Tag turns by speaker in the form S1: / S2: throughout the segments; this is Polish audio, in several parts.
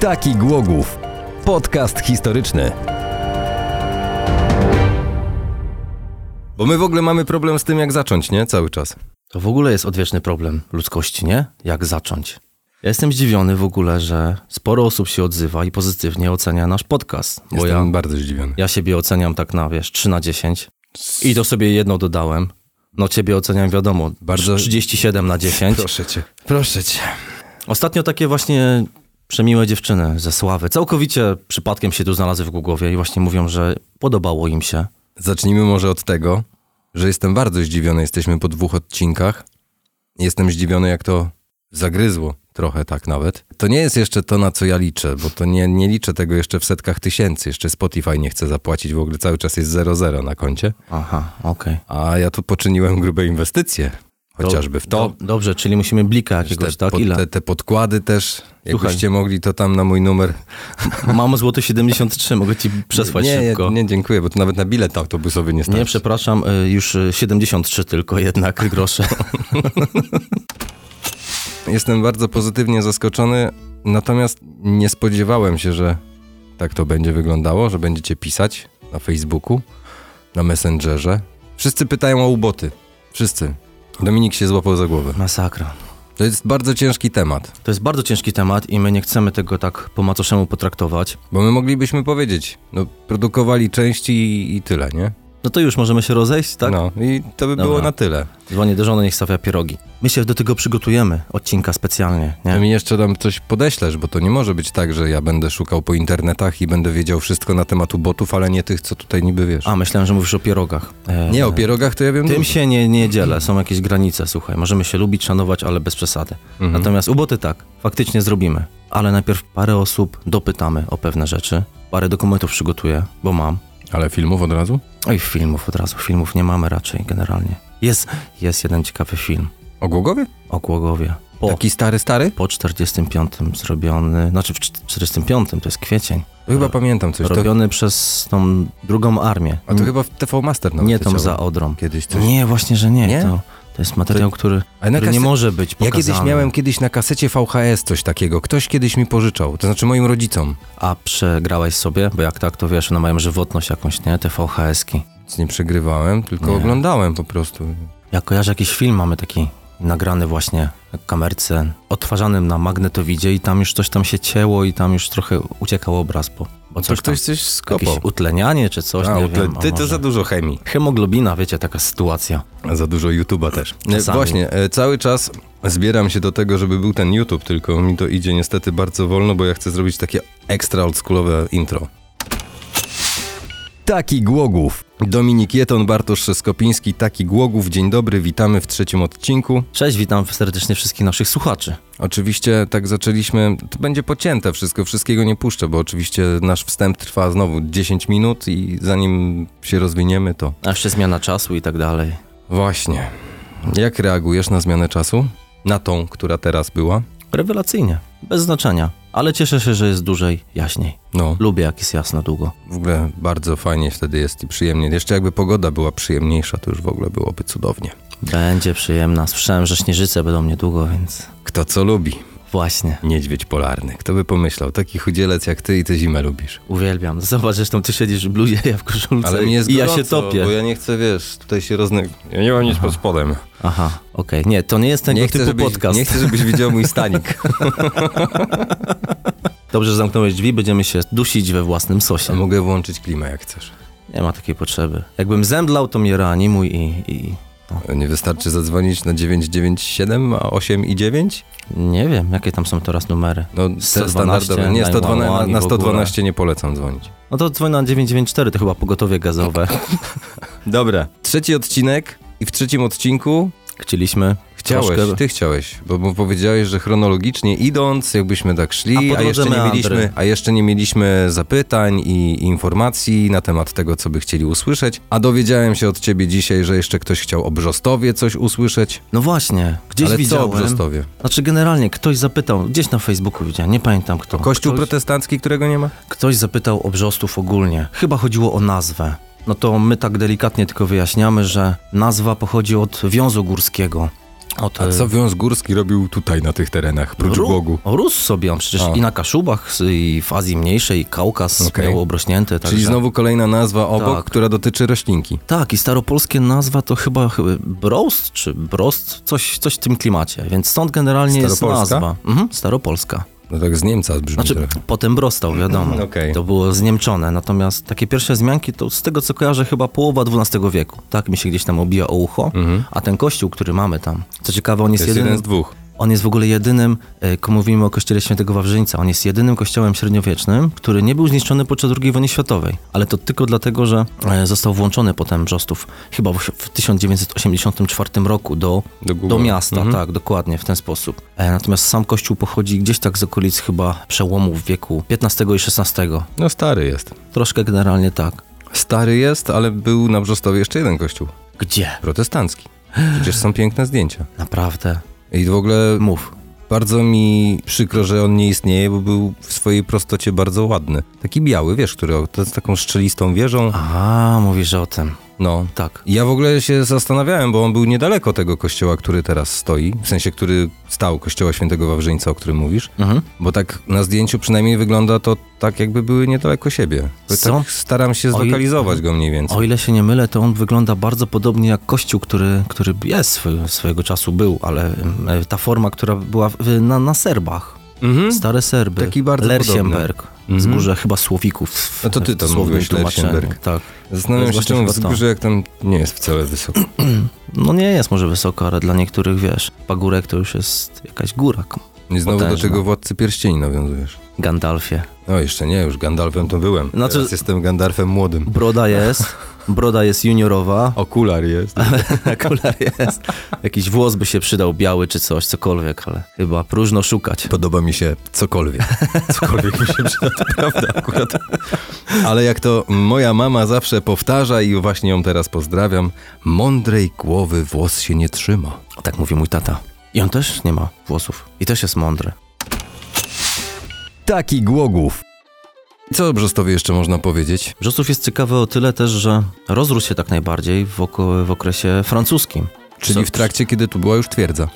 S1: Taki Głogów. Podcast historyczny. Bo my w ogóle mamy problem z tym, jak zacząć, nie? Cały czas.
S2: To w ogóle jest odwieczny problem ludzkości, nie? Jak zacząć? Ja jestem zdziwiony w ogóle, że sporo osób się odzywa i pozytywnie ocenia nasz podcast. Bo
S1: Jestem
S2: ja,
S1: bardzo zdziwiony.
S2: ja siebie oceniam tak na, wiesz, 3 na 10 i to sobie jedno dodałem. No ciebie oceniam, wiadomo,
S1: Bardzo-
S2: bardzo... 37 na 10.
S1: Proszę cię. Proszę cię.
S2: Ostatnio takie właśnie przemiłe dziewczyny ze Sławy. Całkowicie przypadkiem się tu znalazły w Głogowie i właśnie mówią, że podobało im się.
S1: Zacznijmy może od tego, że jestem bardzo zdziwiony. Jesteśmy po dwóch odcinkach. Jestem zdziwiony, jak to zagryzło trochę tak nawet. To nie jest jeszcze to, na co ja liczę, bo to nie, nie liczę tego jeszcze w setkach tysięcy. Jeszcze Spotify nie chce zapłacić, w ogóle cały czas jest 0-0 na koncie.
S2: Aha, okej.
S1: A ja tu poczyniłem grube inwestycje. Chociażby w to.
S2: Do, dobrze, czyli musimy blika jakiegoś,
S1: te,
S2: tak? Ile?
S1: te, te podkłady też. Jakbyście
S2: Słuchaj.
S1: mogli, to tam na mój numer.
S2: Mam złoty 73, mogę ci przesłać
S1: nie,
S2: szybko.
S1: Nie, tak. nie, dziękuję, bo to nawet na bilet autobusowy nie starczy.
S2: Nie, przepraszam, y, już y, 73 tylko jednak grosze.
S1: Jestem bardzo pozytywnie zaskoczony, natomiast nie spodziewałem się, że tak to będzie wyglądało, że będziecie pisać na Facebooku, na Messengerze. Wszyscy pytają o uboty. Wszyscy. Dominik się złapał za głowę.
S2: Masakra.
S1: To jest bardzo ciężki temat,
S2: To jest bardzo ciężki temat i my nie chcemy tego tak po macoszemu potraktować.
S1: bo my moglibyśmy powiedzieć, no produkowali części i, i tyle, nie?
S2: No to już możemy się rozejść, tak?
S1: No i to by było
S2: Dobra.
S1: na tyle.
S2: Dzwonię do żony, niech stawia pierogi. My się do tego przygotujemy, odcinka specjalnie,
S1: Ty
S2: nie?
S1: mi jeszcze tam coś podeślesz, bo to nie może być tak, że ja będę szukał po internetach i będę wiedział wszystko na temat ubotów, ale nie tych, co tutaj niby wiesz.
S2: A, myślałem, że mówisz o pierogach. E,
S1: nie, o pierogach to ja wiem
S2: Tym
S1: dużo.
S2: się nie, nie dzielę, są jakieś granice, słuchaj. Możemy się lubić, szanować, ale bez przesady.
S1: Mhm.
S2: Natomiast uboty tak, faktycznie zrobimy. Ale najpierw parę osób dopytamy o pewne rzeczy. Parę dokumentów przygotuję, bo mam.
S1: Ale filmów od razu?
S2: Oj, filmów od razu. Filmów nie mamy raczej generalnie. Jest, jest jeden ciekawy film
S1: O Głogowie?
S2: o Głogowie. Po,
S1: Taki stary, stary?
S2: po 45 zrobiony, znaczy w cz- 45 to jest kwiecień,
S1: To chyba pamiętam coś. To,
S2: robiony przez tą drugą armię.
S1: a to chyba w TV Master nawet
S2: nie tą
S1: leciało.
S2: za Odrą.
S1: Kiedyś coś.
S2: Nie, właśnie, że nie.
S1: Nie?
S2: To, to jest materiał, który,
S1: Ale na
S2: który nie
S1: kaset-
S2: może być
S1: Ja
S2: pokazany.
S1: kiedyś miałem kiedyś na kasecie VHS coś takiego. Ktoś kiedyś mi pożyczał, to znaczy moim rodzicom.
S2: A przegrałeś sobie? Bo jak tak, to wiesz, one mają żywotność jakąś, nie? Te VHS-ki.
S1: Nic nie przegrywałem, tylko oglądałem po prostu.
S2: Ja kojarzę jakiś film, mamy taki nagrany właśnie w kamerce, odtwarzanym na magnetowidzie i tam już coś tam się cięło i tam już trochę uciekał obraz, bo, bo
S1: To
S2: coś tam,
S1: ktoś coś skopał.
S2: jakieś utlenianie czy coś,
S1: A,
S2: nie
S1: utle-
S2: wiem. a
S1: ty to
S2: może-
S1: za dużo chemii.
S2: Hemoglobina, wiecie, taka sytuacja.
S1: A Za dużo YouTube'a też. Nie,
S2: Czasami.
S1: Właśnie, e, cały czas zbieram się do tego, żeby był ten YouTube, tylko mi to idzie niestety bardzo wolno, bo ja chcę zrobić takie ekstra oldschoolowe intro. Taki Głogów. Dominik Jeton, Bartosz Szeskopiński, Taki Głogów. Dzień dobry, witamy w trzecim odcinku.
S2: Cześć, witam serdecznie wszystkich naszych słuchaczy.
S1: Oczywiście tak zaczęliśmy, to będzie pocięte wszystko, wszystkiego nie puszczę, bo oczywiście nasz wstęp trwa znowu 10 minut i zanim się rozwiniemy to...
S2: A jeszcze zmiana czasu i tak dalej.
S1: Właśnie. Jak reagujesz na zmianę czasu? Na tą, która teraz była?
S2: Rewelacyjnie, bez znaczenia. Ale cieszę się, że jest dłużej, jaśniej.
S1: No,
S2: Lubię, jak jest jasno długo.
S1: w ogóle bardzo fajnie wtedy jest i przyjemnie. Jeszcze jakby pogoda była przyjemniejsza, to już w ogóle byłoby cudownie.
S2: Będzie przyjemna. Słyszałem, że śnieżyce będą niedługo, więc
S1: Kto co lubi?
S2: właśnie.
S1: Niedźwiedź polarny. Kto by pomyślał? Taki chudzielec jak ty i ty zimę lubisz.
S2: Uwielbiam. Zobacz, zresztą ty siedzisz w bluzie, ja w koszulce
S1: Ale mnie jest
S2: i ja
S1: gorąco,
S2: się topię.
S1: bo ja nie chcę, wiesz, tutaj się rozny... Ja nie mam nic pod spodem.
S2: Aha, okej. Nie, to nie jest tego
S1: Nie
S2: typu
S1: chcę, żebyś,
S2: podcast.
S1: nie chcę, żebyś widział mój stanik.
S2: Dobrze, że zamknąłeś drzwi, będziemy się dusić we własnym sosie.
S1: Mogę włączyć klimę, jak chcesz.
S2: Nie ma takiej potrzeby. Jakbym zemdlał, to mnie reanimuj i... i... No,
S1: Nie wystarczy zadzwonić na 997, a 8 i 9?
S2: nie wiem, jakie tam są teraz numery.
S1: No, te
S2: 112,
S1: standardowe. Nie, 112, na,
S2: 911
S1: na
S2: w ogóle.
S1: 112 nie polecam dzwonić.
S2: No to dzwoń na 994, to chyba pogotowie gazowe.
S1: Dobra. Trzeci odcinek i w trzecim odcinku
S2: Chcieliśmy
S1: chciałeś,
S2: troszkę...
S1: ty chciałeś, bo, bo powiedziałeś, że chronologicznie idąc, jakbyśmy tak
S2: A po
S1: szli, a,
S2: drodze
S1: jeszcze, nie
S2: meandry.
S1: mieliśmy, a jeszcze nie mieliśmy zapytań i i informacji na temat tego, co by chcieli usłyszeć, a dowiedziałem się od ciebie dzisiaj, że jeszcze ktoś chciał o Brzostowie coś usłyszeć.
S2: No właśnie, gdzieś
S1: Ale co o
S2: widziałem...
S1: Brzostowie?
S2: Znaczy generalnie ktoś zapytał, gdzieś na Facebooku widziałem, nie pamiętam kto.
S1: Kościół
S2: ktoś,
S1: protestancki, którego nie ma?
S2: ktoś zapytał o Brzostów ogólnie. Chyba chodziło o nazwę. No to my tak delikatnie tylko wyjaśniamy, że nazwa pochodzi od wiązu górskiego. Od,
S1: A co Wiąz Górski robił tutaj, na tych terenach, prócz
S2: Ró-
S1: Bogu?
S2: Rósł sobie on przecież
S1: A.
S2: i na Kaszubach, s- i w Azji Mniejszej, i Kaukaz
S1: Okej.
S2: miał obrośnięte. Także...
S1: Czyli znowu kolejna nazwa obok,
S2: Tak.
S1: która dotyczy roślinki.
S2: Tak, i staropolskie nazwa to chyba chyba brost czy brost, coś, coś w tym klimacie, więc stąd generalnie jest
S1: Staropolska?
S2: nazwa. Mhm, staropolska.
S1: No tak z Niemca brzmi
S2: Znaczy,
S1: trochę.
S2: potem brostał, wiadomo.
S1: Mm, Okej.
S2: To było zniemczone, natomiast takie pierwsze wzmianki to z tego, co kojarzę, chyba połowa XII wieku. Tak mi się gdzieś tam obija o ucho, a ten kościół, który mamy tam, co ciekawe,
S1: Mhm.
S2: on
S1: To jest
S2: jest,
S1: jeden,
S2: jedynym,
S1: z dwóch.
S2: on jest w ogóle jedynym, e, ko- mówimy o kościele świętego Wawrzyńca, on jest jedynym kościołem średniowiecznym, który nie był zniszczony podczas II wojny światowej, ale to tylko dlatego, że e, został włączony potem Brzostów, chyba w w 1984 roku do,
S1: Do Google.
S2: do miasta,
S1: Mhm.
S2: tak, dokładnie, w ten sposób. E, Natomiast sam kościół pochodzi gdzieś tak z okolic chyba przełomów wieku XV i XVI,
S1: No stary jest.
S2: troszkę generalnie tak.
S1: Stary jest, ale był na Brzostowie jeszcze jeden kościół.
S2: Gdzie?
S1: Protestancki. Przecież są piękne zdjęcia.
S2: Naprawdę.
S1: I w ogóle
S2: Mów.
S1: bardzo mi przykro, że on nie istnieje, bo był w swojej prostocie bardzo ładny. Taki biały, wiesz, który to z taką szczelistą wieżą.
S2: A, mówisz o tym.
S1: No.
S2: Tak.
S1: Ja w ogóle się zastanawiałem, bo on był niedaleko tego kościoła, który teraz stoi, w sensie, który stał, kościoła świętego Wawrzyńca, o którym mówisz,
S2: Mhm.
S1: bo tak na zdjęciu przynajmniej wygląda to tak, jakby były niedaleko siebie. Bo
S2: Co?
S1: Tak staram się
S2: Oj-
S1: zlokalizować go mniej więcej.
S2: O ile się nie mylę, to on wygląda bardzo podobnie jak kościół, który, który jest swy- swojego czasu był, ale em, e, ta forma, która była w, na, na Serbach.
S1: Mhm.
S2: Stare Serby.
S1: Taki bardzo
S2: Lersienberg.
S1: Mhm.
S2: Wzgórze chyba Słowików.
S1: No to ty
S2: w
S1: to
S2: dosłownym
S1: mówiłeś,
S2: tłumaczeniu.
S1: Lersienberg.
S2: Tak. To
S1: Zastanawiam
S2: jest
S1: się,
S2: właśnie
S1: czemu
S2: chyba to.
S1: wzgórze jak tam nie jest wcale wysoko.
S2: No nie jest może wysoko, ale dla niektórych, wiesz, pagórek to już jest jakaś góra. k-
S1: I znowu do
S2: Potężna.
S1: tego Władcy Pierścieni nawiązujesz.
S2: Gandalfie.
S1: No jeszcze nie, już Gandalfem to byłem.
S2: Znaczy-
S1: Teraz jestem Gandalfem młodym.
S2: Broda jest, broda jest juniorowa,
S1: Okular jest.
S2: akurat jest. Jakiś włos by się przydał, biały czy coś, cokolwiek, ale chyba próżno szukać.
S1: Podoba mi się cokolwiek. Cokolwiek mi się przyda, to prawda akurat. Ale jak to moja mama zawsze powtarza i właśnie ją teraz pozdrawiam, mądrej głowy włos się nie trzyma.
S2: Tak mówi mój tata. I on też nie ma włosów. I też jest mądry.
S1: Taki głogów. Co o Brzostowie jeszcze można powiedzieć?
S2: Brzostów jest ciekawy o tyle też, że rozrósł się tak najbardziej w, oko- w okresie francuskim.
S1: Czyli
S2: Co-
S1: w trakcie, kiedy tu była już twierdza.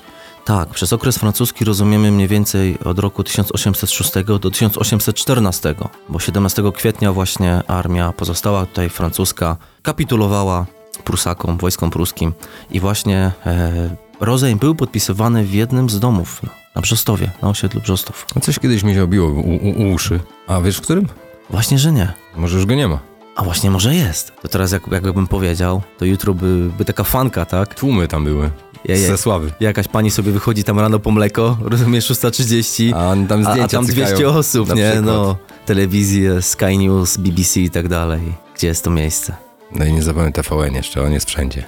S2: Tak, przez okres francuski rozumiemy mniej więcej od roku 1806 do 1814, bo 17 kwietnia właśnie armia pozostała tutaj francuska kapitulowała Prusakom, wojskom pruskim i właśnie e, rozejm był podpisywany w jednym z domów na Brzostowie, na osiedlu Brzostów.
S1: No Coś kiedyś mi się obiło u, u, u uszy. A wiesz w którym?
S2: Właśnie, że nie.
S1: Może już go nie ma.
S2: A właśnie może jest. To teraz jak, jakbym powiedział, to jutro by, by taka fanka, tak?
S1: Tłumy tam były.
S2: Jej,
S1: Ze Sławy.
S2: Jakaś pani sobie wychodzi tam rano po mleko, rozumiesz, 6.30,
S1: A tam
S2: a,
S1: zdjęcia
S2: a tam
S1: cykają,
S2: 200 osób,
S1: na
S2: nie?
S1: przykład.
S2: No, telewizje, Sky News, BBC i tak dalej. Gdzie jest to miejsce?
S1: No i nie zapomnę TVN jeszcze, on jest wszędzie.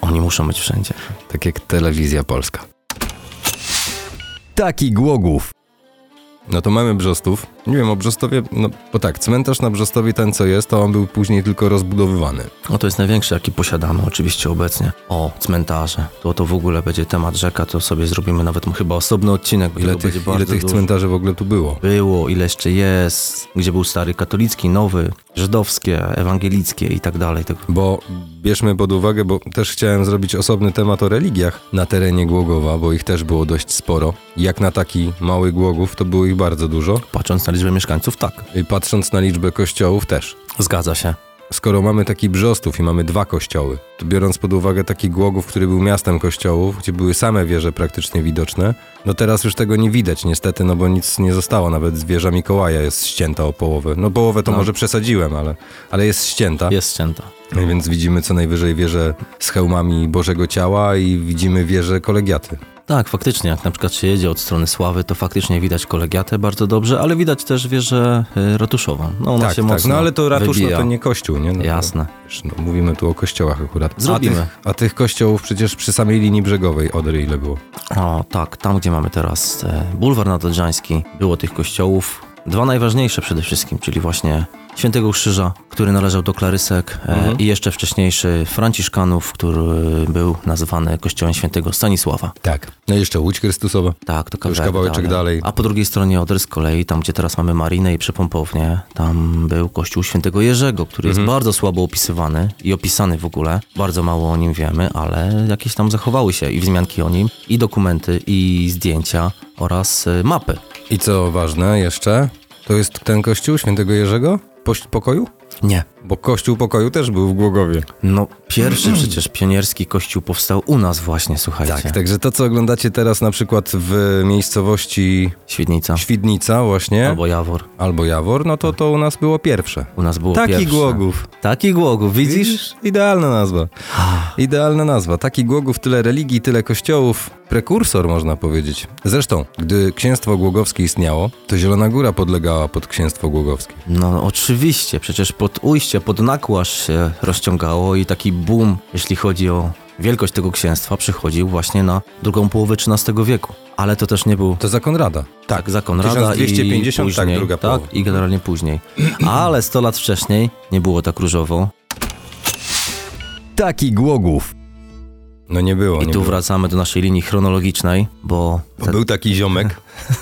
S2: Oni muszą być wszędzie.
S1: Tak jak telewizja polska. Taki głogów. No to mamy Brzostów. Nie wiem, o Brzostowie, no bo tak, cmentarz na Brzostowie ten co jest, to on był później tylko rozbudowywany.
S2: No to jest największy, jaki posiadamy oczywiście obecnie. O, cmentarze. To to w ogóle będzie temat rzeka, to sobie zrobimy nawet chyba osobny odcinek. bo
S1: Ile
S2: tego
S1: tych,
S2: będzie
S1: ile
S2: bardzo
S1: tych
S2: dużo.
S1: cmentarzy w ogóle tu było?
S2: było, ile jeszcze jest, gdzie był stary katolicki, nowy, żydowskie, ewangelickie i tak dalej. Tak.
S1: Bo bierzmy pod uwagę, bo też chciałem zrobić osobny temat o religiach na terenie Głogowa, bo ich też było dość sporo. Jak na taki mały Głogów, to było ich bardzo dużo.
S2: Patrząc na liczbę mieszkańców, tak.
S1: I patrząc na liczbę kościołów też.
S2: Zgadza się.
S1: Skoro mamy taki Brzostów i mamy dwa kościoły, to biorąc pod uwagę taki Głogów, który był miastem kościołów, gdzie były same wieże praktycznie widoczne, no teraz już tego nie widać niestety, no bo nic nie zostało, nawet wieża Mikołaja jest ścięta o połowę. No połowę to
S2: No.
S1: może przesadziłem, ale, ale jest ścięta,
S2: Jest ścięta.
S1: więc widzimy co najwyżej wieżę z hełmami Bożego Ciała i widzimy wieżę kolegiaty.
S2: Tak, faktycznie, jak na przykład się jedzie od strony Sławy, to faktycznie widać kolegiatę bardzo dobrze, ale widać też wieżę y, ratuszową. No ona
S1: tak,
S2: się
S1: tak,
S2: mocno
S1: no ale to ratusz, no
S2: wybija.
S1: to nie kościół, nie? No, to-
S2: Jasne.
S1: Wiesz, No, mówimy tu o kościołach akurat.
S2: Zrobimy.
S1: A tych, a tych kościołów przecież przy samej linii brzegowej Odry ile było?
S2: O, tak, tam gdzie mamy teraz e, bulwar nadodrzański, było tych kościołów. Dwa najważniejsze przede wszystkim, czyli właśnie Świętego Krzyża, który należał do klarysek e,
S1: Mhm.
S2: i jeszcze wcześniejszy Franciszkanów, który był nazywany kościołem świętego Stanisława.
S1: Tak. No i jeszcze Łódź Chrystusowa.
S2: Tak, to
S1: już
S2: kawałek,
S1: kawałeczek dalej.
S2: A po drugiej stronie Odry z kolei, tam gdzie teraz mamy marinę i przepompownię, tam był kościół świętego Jerzego, który
S1: Mhm.
S2: jest bardzo słabo opisywany i opisany w ogóle. Bardzo mało o nim wiemy, ale jakieś tam zachowały się i wzmianki o nim, i dokumenty, i zdjęcia oraz y, mapy.
S1: I co ważne jeszcze, to jest ten kościół świętego Jerzego? Poś- pokoju?
S2: Nie.
S1: Bo kościół pokoju też był w Głogowie.
S2: No pierwszy przecież pionierski kościół powstał u nas właśnie, słuchajcie.
S1: Tak, także to, co oglądacie teraz na przykład w miejscowości
S2: Świdnica
S1: Świdnica właśnie, albo,
S2: albo Jawor.
S1: Jawor, no to to u nas było pierwsze.
S2: U nas było
S1: Taki
S2: pierwsze.
S1: Głogów.
S2: Taki Głogów, widzisz?
S1: Idealna nazwa. Idealna nazwa. Taki Głogów, tyle religii, tyle kościołów. Prekursor można powiedzieć. Zresztą, gdy księstwo głogowskie istniało, to Zielona Góra podlegała pod księstwo głogowskie.
S2: No oczywiście, przecież pod ujście, pod nakłasz się rozciągało i taki boom, jeśli chodzi o wielkość tego księstwa, przychodził właśnie na drugą połowę XIII wieku. Ale to też nie był
S1: To za Konrada.
S2: tak za Konrada
S1: 1250,
S2: i później,
S1: tak, druga
S2: tak,
S1: połowa.
S2: i generalnie później. Ale 100 lat wcześniej nie było tak różowo.
S1: Taki Głogów. No nie było, nie
S2: I tu
S1: było.
S2: wracamy do naszej linii chronologicznej, bo
S1: Bo Był taki ziomek,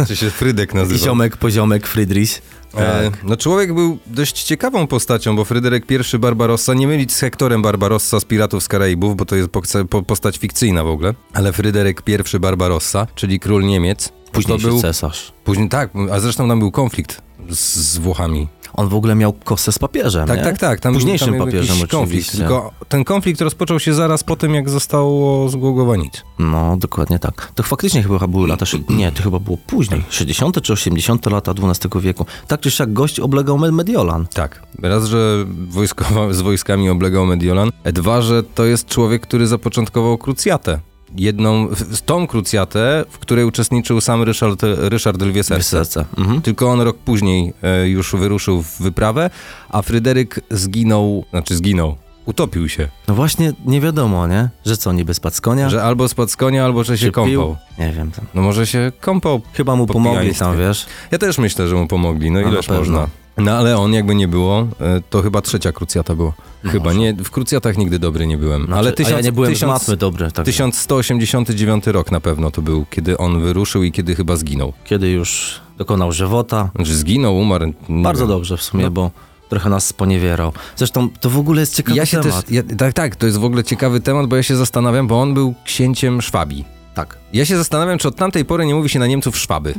S1: czy się Frydek nazywał.
S2: ziomek, poziomek, Friedrich.
S1: E, no człowiek był dość ciekawą postacią, bo Fryderyk I Barbarossa, nie mylić z Hektorem Barbarossa z Piratów z Karaibów, bo to jest pokce- po- postać fikcyjna w ogóle, ale Fryderyk I Barbarossa, czyli król Niemiec,
S2: Później
S1: to był...
S2: cesarz.
S1: Później, tak, a zresztą tam był konflikt z, z Włochami.
S2: On w ogóle miał kosę z papieżem,
S1: Tak,
S2: nie?
S1: tak, tak. Tam
S2: Późniejszym
S1: był, tam jakiś
S2: papieżem
S1: konflikt.
S2: oczywiście.
S1: Tylko ten konflikt rozpoczął się zaraz po tym, jak zostało zgłogowanic.
S2: No, dokładnie tak. To faktycznie chyba były lata. szy- Nie, to chyba było później. 60. czy 80. lata XII wieku. Tak czy siak gość oblegał Med- Mediolan.
S1: Tak. Raz, że wojskowa, z wojskami oblegał Mediolan. Dwa, że to jest człowiek, który zapoczątkował krucjatę. Jedną, w- tą krucjatę, w której uczestniczył sam Ryszard, Ryszard Lwie Serce.
S2: Serce. Mhm.
S1: Tylko on rok później e, już wyruszył w wyprawę, a Fryderyk zginął, znaczy zginął, utopił się.
S2: No właśnie, nie wiadomo, nie? Że co, niby spadł z konia?
S1: Że albo spadł z konia, albo że się
S2: Czy
S1: kąpał.
S2: Nie wiem. Tam.
S1: No może się kąpał.
S2: Chyba mu
S1: Po
S2: pomogli
S1: pijaństwie.
S2: tam, wiesz?
S1: Ja też myślę, że mu pomogli, no
S2: No,
S1: ileż
S2: na pewno.
S1: można. No ale on jakby nie było, e, to chyba trzecia krucjata była. Chyba nie, w krucjatach nigdy dobry nie byłem.
S2: No Znaczy,
S1: ale
S2: a ja
S1: tysiąc-
S2: nie byłem
S1: tysiąc-
S2: z matmy dobry. Tak
S1: 1189 rok na pewno to był, kiedy on wyruszył i kiedy chyba zginął.
S2: Kiedy już dokonał żywota.
S1: Znaczy zginął, umarł. nie
S2: Bardzo
S1: wiem.
S2: dobrze w sumie,
S1: No.
S2: bo trochę nas sponiewierał. Zresztą to w ogóle jest ciekawy
S1: Ja się
S2: temat.
S1: też, ja, tak, tak, to jest w ogóle ciekawy temat, bo ja się zastanawiam, bo on był księciem Szwabii.
S2: Tak.
S1: Ja się zastanawiam, czy od tamtej pory nie mówi się na Niemców Szwaby.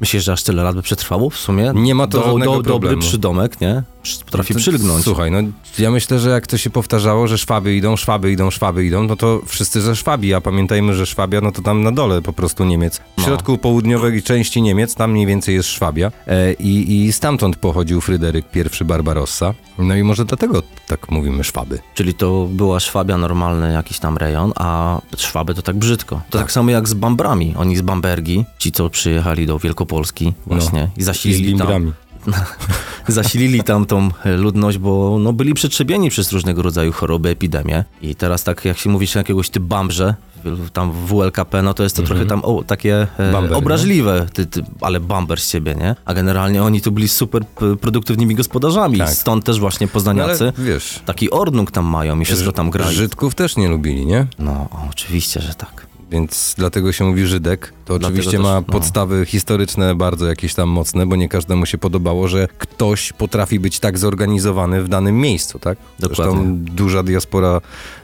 S2: Myślisz, że aż tyle lat by przetrwało? W sumie
S1: Nie ma to
S2: do,
S1: żadnego
S2: do, dobry
S1: problemu.
S2: przydomek, nie? Przy- Potrafi
S1: To-
S2: przylgnąć.
S1: Słuchaj, no ja myślę, że jak to się powtarzało, że Szwaby idą, Szwaby idą, Szwaby idą, no to wszyscy ze Szwabi, a pamiętajmy, że Szwabia, no to tam na dole po prostu Niemiec. W
S2: No.
S1: środku południowej części Niemiec, tam mniej więcej jest Szwabia e, i, i stamtąd pochodził Fryderyk I Barbarossa. No i może dlatego tak mówimy Szwaby.
S2: Czyli to była Szwabia normalny jakiś tam rejon, a Szwaby to tak brzydko. To tak, samo jak z Bambrami. Oni z Bambergi, ci co przyjechali do Wielkopolski właśnie i
S1: No. I z
S2: zasilili tam,
S1: Limbrami.
S2: zasilili tam tą e, ludność, bo no, byli przetrzebieni przez różnego rodzaju choroby, epidemie. I teraz tak jak się mówi się jakiegoś ty Bambrze, w- tam w WLKP, no to jest to trochę tam o, takie e,
S1: Mhm. Bamber, nie?
S2: obraźliwe, ty, ty, ale Bamber z ciebie, nie? A generalnie oni tu byli super p- produktywnymi gospodarzami,
S1: Tak.
S2: stąd też właśnie
S1: No, ale
S2: poznaniacy.
S1: wiesz,
S2: Taki ordnung tam mają i wszystko tam grają.
S1: Żydków też nie lubili, nie?
S2: No, oczywiście, że tak.
S1: Więc dlatego się mówi Żydek. To
S2: Dlatego
S1: oczywiście
S2: też,
S1: ma
S2: no.
S1: podstawy historyczne bardzo jakieś tam mocne, bo nie każdemu się podobało, że ktoś potrafi być tak zorganizowany w danym miejscu, tak?
S2: Dokładnie.
S1: Zresztą duża diaspora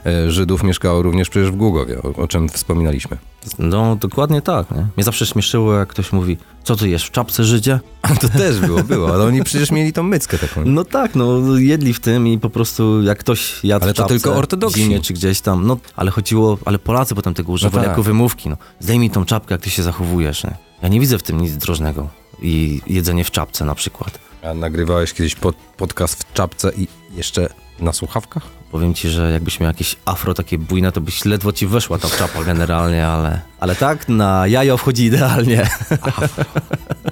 S1: e, Żydów mieszkała również przecież w Głogowie, o, o czym wspominaliśmy.
S2: No, dokładnie tak, nie? Mnie zawsze śmieszyło, jak ktoś mówi, co ty jesz, w czapce Żydzie?
S1: To też było, było, ale oni przecież mieli tą myckę taką.
S2: No tak, no, jedli w tym i po prostu jak ktoś jadł
S1: Ale
S2: w
S1: to
S2: czapce,
S1: tylko ortodoksi.
S2: w zimie czy gdzieś tam, no, ale chodziło, ale Polacy potem tego używali
S1: tak.
S2: jako wymówki, no. Zdejmij tą czapkę, jak ty się zachowujesz, nie? Ja nie widzę w tym nic drożnego. I jedzenie w czapce na przykład.
S1: A nagrywałeś kiedyś pod, podcast w czapce i jeszcze na słuchawkach?
S2: Powiem ci, że jakbyś miał jakieś afro takie bujne, to byś ledwo ci weszła ta czapa generalnie, ale... Ale tak, na jajo wchodzi idealnie.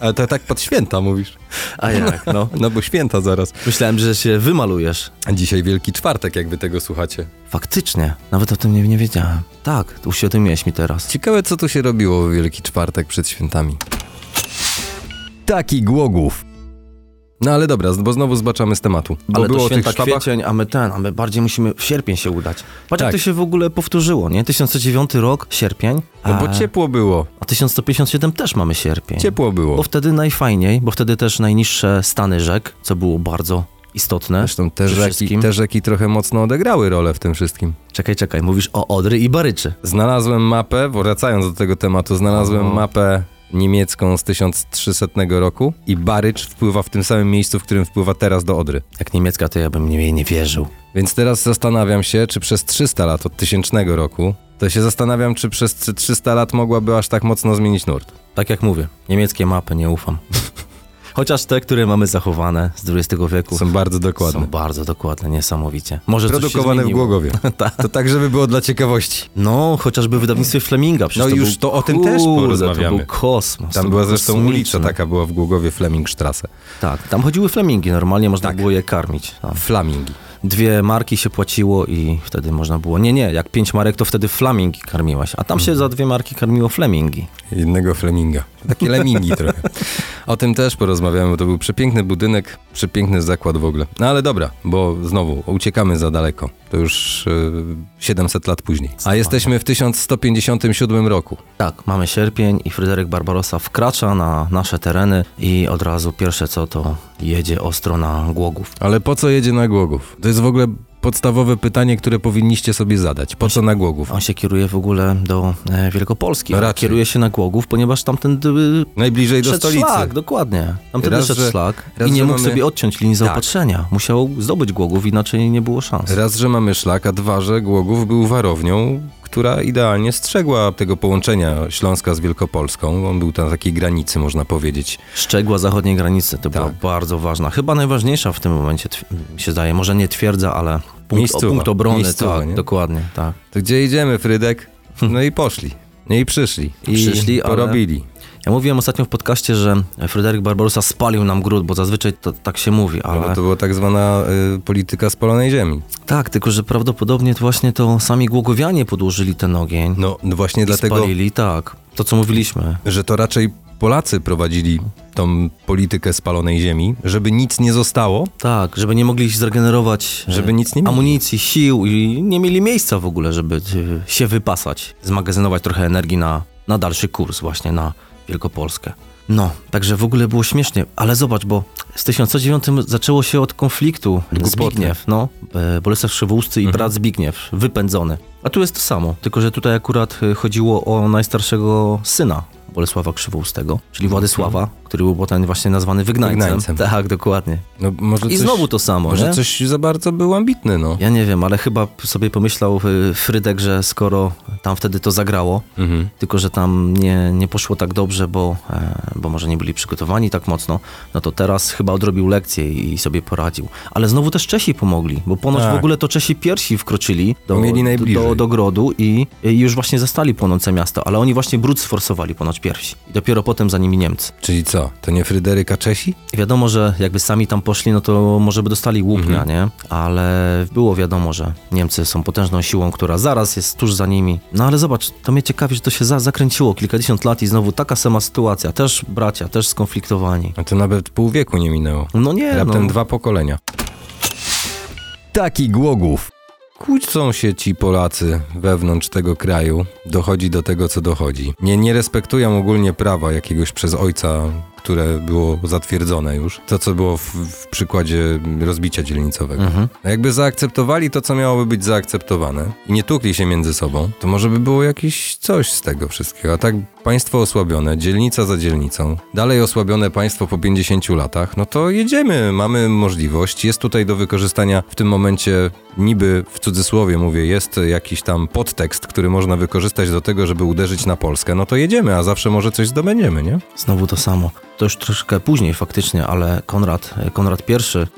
S1: Ale to tak pod święta mówisz.
S2: A jak, no.
S1: No bo święta zaraz.
S2: Myślałem, że się wymalujesz.
S1: A dzisiaj Wielki Czwartek, jakby tego słuchacie.
S2: Faktycznie, nawet o tym nie, nie wiedziałem. Tak, uświadomiłeś mi teraz.
S1: Ciekawe, co tu się robiło w Wielki Czwartek przed świętami. Taki Głogów. No ale dobra, bo znowu zbaczamy z tematu. Bo
S2: Ale
S1: było
S2: to
S1: o tych
S2: święta
S1: szwabach.
S2: kwiecień, a my ten, a my bardziej musimy w sierpień się udać. Patrz
S1: Tak.
S2: jak to się w ogóle powtórzyło, nie? 1109 rok, sierpień, a,
S1: No bo ciepło było,
S2: a 1157 też mamy sierpień.
S1: ciepło
S2: Bo
S1: było.
S2: wtedy najfajniej, bo wtedy też najniższe stany rzek, co było bardzo istotne.
S1: Zresztą te
S2: przy
S1: rzeki,
S2: wszystkim.
S1: te rzeki trochę mocno odegrały rolę w tym wszystkim.
S2: Czekaj, czekaj, mówisz o Odry i Baryczy.
S1: Znalazłem mapę, wracając do tego tematu, znalazłem
S2: O.
S1: mapę niemiecką z 1300 roku i Barycz wpływa w tym samym miejscu, w którym wpływa teraz do Odry.
S2: Jak niemiecka, to ja bym nie- jej nie wierzył.
S1: Więc teraz zastanawiam się, czy przez 300 lat od 1000 roku, to się zastanawiam, czy przez 300 lat mogłaby aż tak mocno zmienić nurt.
S2: Tak jak mówię, niemieckie mapy nie ufam. Chociaż te, które mamy zachowane z XX wieku,
S1: Są bardzo dokładne.
S2: są bardzo dokładne, niesamowicie. Może coś się
S1: Produkowane w
S2: zmieniło.
S1: Głogowie. To tak, żeby było dla ciekawości.
S2: No, chociażby w wydawnictwie Fleminga. Przecież
S1: No
S2: to
S1: już
S2: był,
S1: to o tym też
S2: Kurde,
S1: porozmawiamy.
S2: To był kosmos. to
S1: Tam
S2: był
S1: była zresztą
S2: kosmiczny.
S1: ulica tak. taka, była w Głogowie Flemingstrasse.
S2: Tak, tam chodziły flamingi, normalnie można
S1: Tak.
S2: było je karmić. No.
S1: Flamingi.
S2: Dwie marki się płaciło i wtedy można było... Nie, nie, jak pięć marek, to wtedy flamingi karmiłaś. A tam
S1: Mhm.
S2: się za dwie marki karmiło flamingi.
S1: Jednego flaminga. Takie lemingi trochę. O tym też porozmawiamy, bo to był przepiękny budynek, przepiękny zakład w ogóle. No ale dobra, bo znowu uciekamy za daleko. To już yy, 700 lat później. A jesteśmy w 1157 roku.
S2: Tak, mamy sierpień i Fryderyk Barbarossa wkracza na nasze tereny i od razu pierwsze co to jedzie ostro na Głogów.
S1: Ale po co jedzie na Głogów? To jest w ogóle podstawowe pytanie, które powinniście sobie zadać. Po co na Głogów?
S2: On się kieruje w ogóle do e, Wielkopolski.
S1: No
S2: ale
S1: raczej.
S2: Kieruje się na Głogów, ponieważ tamten y,
S1: Najbliżej do
S2: szedł
S1: stolicy.
S2: szlak, dokładnie. Tamten
S1: Raz,
S2: szedł
S1: że-
S2: szlak
S1: raz,
S2: i nie
S1: że
S2: mógł
S1: mamy-
S2: sobie odciąć linii
S1: Tak.
S2: zaopatrzenia. Musiał zdobyć Głogów, inaczej nie było szans.
S1: Raz, że mamy szlak, a dwa, że Głogów był warownią, która idealnie strzegła tego połączenia Śląska z Wielkopolską. On był tam na takiej granicy, można powiedzieć.
S2: Szczegła zachodniej granicy to była
S1: Tak.
S2: bardzo ważna. Chyba najważniejsza w tym momencie tw- mi się zdaje. Może nie twierdza, ale punkt,
S1: Miejscowa.
S2: punkt obrony.
S1: Miejscowa,
S2: tak,
S1: nie?
S2: dokładnie, tak.
S1: To gdzie idziemy, Frydek? No i poszli. No i przyszli. I
S2: Hm. Przyszli, ale-
S1: porobili.
S2: Ja mówiłem ostatnio w podcaście, że Fryderyk Barbarossa spalił nam gród, bo zazwyczaj to tak się mówi, ale...
S1: No bo to była tak zwana y, polityka spalonej ziemi.
S2: Tak, tylko że prawdopodobnie to właśnie to sami Głogowianie podłożyli ten ogień
S1: No właśnie
S2: i
S1: dlatego,
S2: spalili, tak. To, co mówiliśmy.
S1: że to raczej Polacy prowadzili tą politykę spalonej ziemi, żeby nic nie zostało,
S2: Tak, żeby nie mogli zregenerować e,
S1: żeby nic nie mieli.
S2: amunicji, sił i nie mieli miejsca w ogóle, żeby e, się wypasać, zmagazynować trochę energii na, na dalszy kurs właśnie na Wielkopolskę. No, także w ogóle było śmiesznie, ale zobacz, bo z 1009 zaczęło się od konfliktu
S1: Głupoty.
S2: Zbigniew, no, e, Bolesław Krzywousty i brat Zbigniew, wypędzony. A tu jest to samo, tylko że tutaj akurat e, chodziło o najstarszego syna Bolesława Krzywoustego, czyli Władysława, który był potem właśnie nazwany wygnańcem.
S1: Wygnańcem.
S2: Tak, dokładnie.
S1: No, może coś,
S2: I znowu to samo,
S1: Może
S2: nie?
S1: coś za bardzo był ambitny, no.
S2: Ja nie wiem, ale chyba p- sobie pomyślał y, Frydek, że skoro tam wtedy to zagrało,
S1: Mhm.
S2: tylko że tam nie, nie poszło tak dobrze, bo, e, bo może nie byli przygotowani tak mocno, no to teraz chyba odrobił lekcję i sobie poradził. Ale znowu też Czesi pomogli, bo ponoć
S1: Tak.
S2: w ogóle to Czesi pierwsi wkroczyli do,
S1: Mieli
S2: do,
S1: najbliżej.
S2: do, do grodu i, i już właśnie zastali płonące miasto, ale oni właśnie brud sforsowali ponoć pierwsi. I dopiero potem za nimi Niemcy.
S1: Czyli co, to nie Fryderyka Czesi?
S2: I Wiadomo, że jakby sami tam poszli, no to może by dostali łupnia, nie? Ale było wiadomo, że Niemcy są potężną siłą, która zaraz jest tuż za nimi. No ale zobacz, to mnie ciekawi, że to się za zakręciło kilkadziesiąt lat i znowu taka sama sytuacja. Też bracia, też skonfliktowani.
S1: A to nawet pół wieku nie minęło.
S2: No nie,
S1: Raptem
S2: no.
S1: dwa pokolenia. Taki Głogów. Kłócą się ci Polacy wewnątrz tego kraju. Dochodzi do tego, co dochodzi. Nie, nie respektują ogólnie prawa jakiegoś przez ojca, które było zatwierdzone już. To, co było w, w przykładzie rozbicia dzielnicowego.
S2: Mhm.
S1: No Jakby zaakceptowali to, co miałoby być zaakceptowane i nie tukli się między sobą, to może by było jakieś coś z tego wszystkiego. A tak państwo osłabione, dzielnica za dzielnicą, dalej osłabione państwo po 50 latach, no to jedziemy, mamy możliwość. Jest tutaj do wykorzystania w tym momencie niby w cudzysłowie mówię, jest jakiś tam podtekst, który można wykorzystać do tego, żeby uderzyć na Polskę. No to jedziemy, a zawsze może coś zdobędziemy, nie?
S2: Znowu to samo. To już troszkę później faktycznie, ale Konrad, e, Konrad I,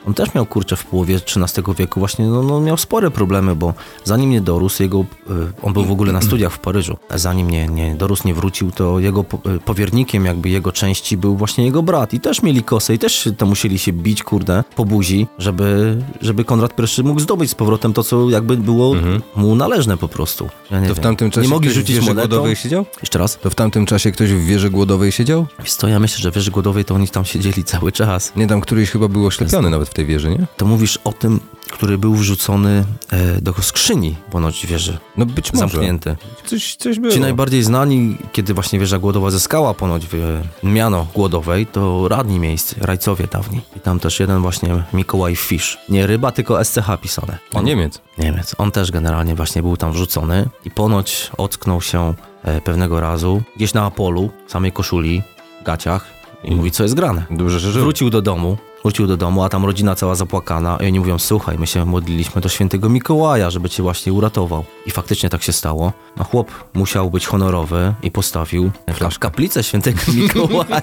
S2: on też miał kurczę w połowie XIII wieku właśnie, no, no miał spore problemy, bo zanim nie dorósł, jego, y, on był w ogóle na studiach w Paryżu, a zanim nie, nie dorósł, nie wrócił, to jego po- y, powiernikiem jakby jego części był właśnie jego brat i też mieli kosę i też się- to musieli się bić, kurde, po buzi, żeby, żeby Konrad I mógł zdobyć z powrotem to, co jakby było mu należne po prostu. Ja nie
S1: Mhm. To w
S2: wiem.
S1: tamtym czasie
S2: nie mogli
S1: ktoś w
S2: rzucić
S1: wieży
S2: monetą.
S1: głodowej siedział?
S2: Jeszcze raz.
S1: To w tamtym czasie ktoś w wieży głodowej siedział?
S2: Wiesz co, ja myślę, że wiesz, Wieży Głodowej to oni tam siedzieli cały czas.
S1: Nie, tam któryś chyba był oślepiony nawet w tej wieży, nie?
S2: To mówisz o tym, który był wrzucony e, do skrzyni ponoć wieży.
S1: No być może.
S2: Zamknięty.
S1: Coś, coś było.
S2: Ci najbardziej znani, kiedy właśnie wieża głodowa zyskała ponoć e, miano głodowej, to radni miejscy, rajcowie dawni. I tam też jeden właśnie Mikołaj Fisz. Nie ryba, tylko SCH pisane.
S1: A Niemiec.
S2: Niemiec. On też generalnie właśnie był tam wrzucony i ponoć ocknął się e, pewnego razu gdzieś na Apolu, w samej koszuli, gaciach i mówi, co jest grane.
S1: Dużo rzeczy.
S2: Wrócił do domu, wrócił do domu, a tam rodzina cała zapłakana i oni mówią, słuchaj, my się modliliśmy do świętego Mikołaja, żeby cię właśnie uratował. I faktycznie tak się stało. No chłop musiał być honorowy i postawił flaszkę. kaplicę świętego Mikołaja.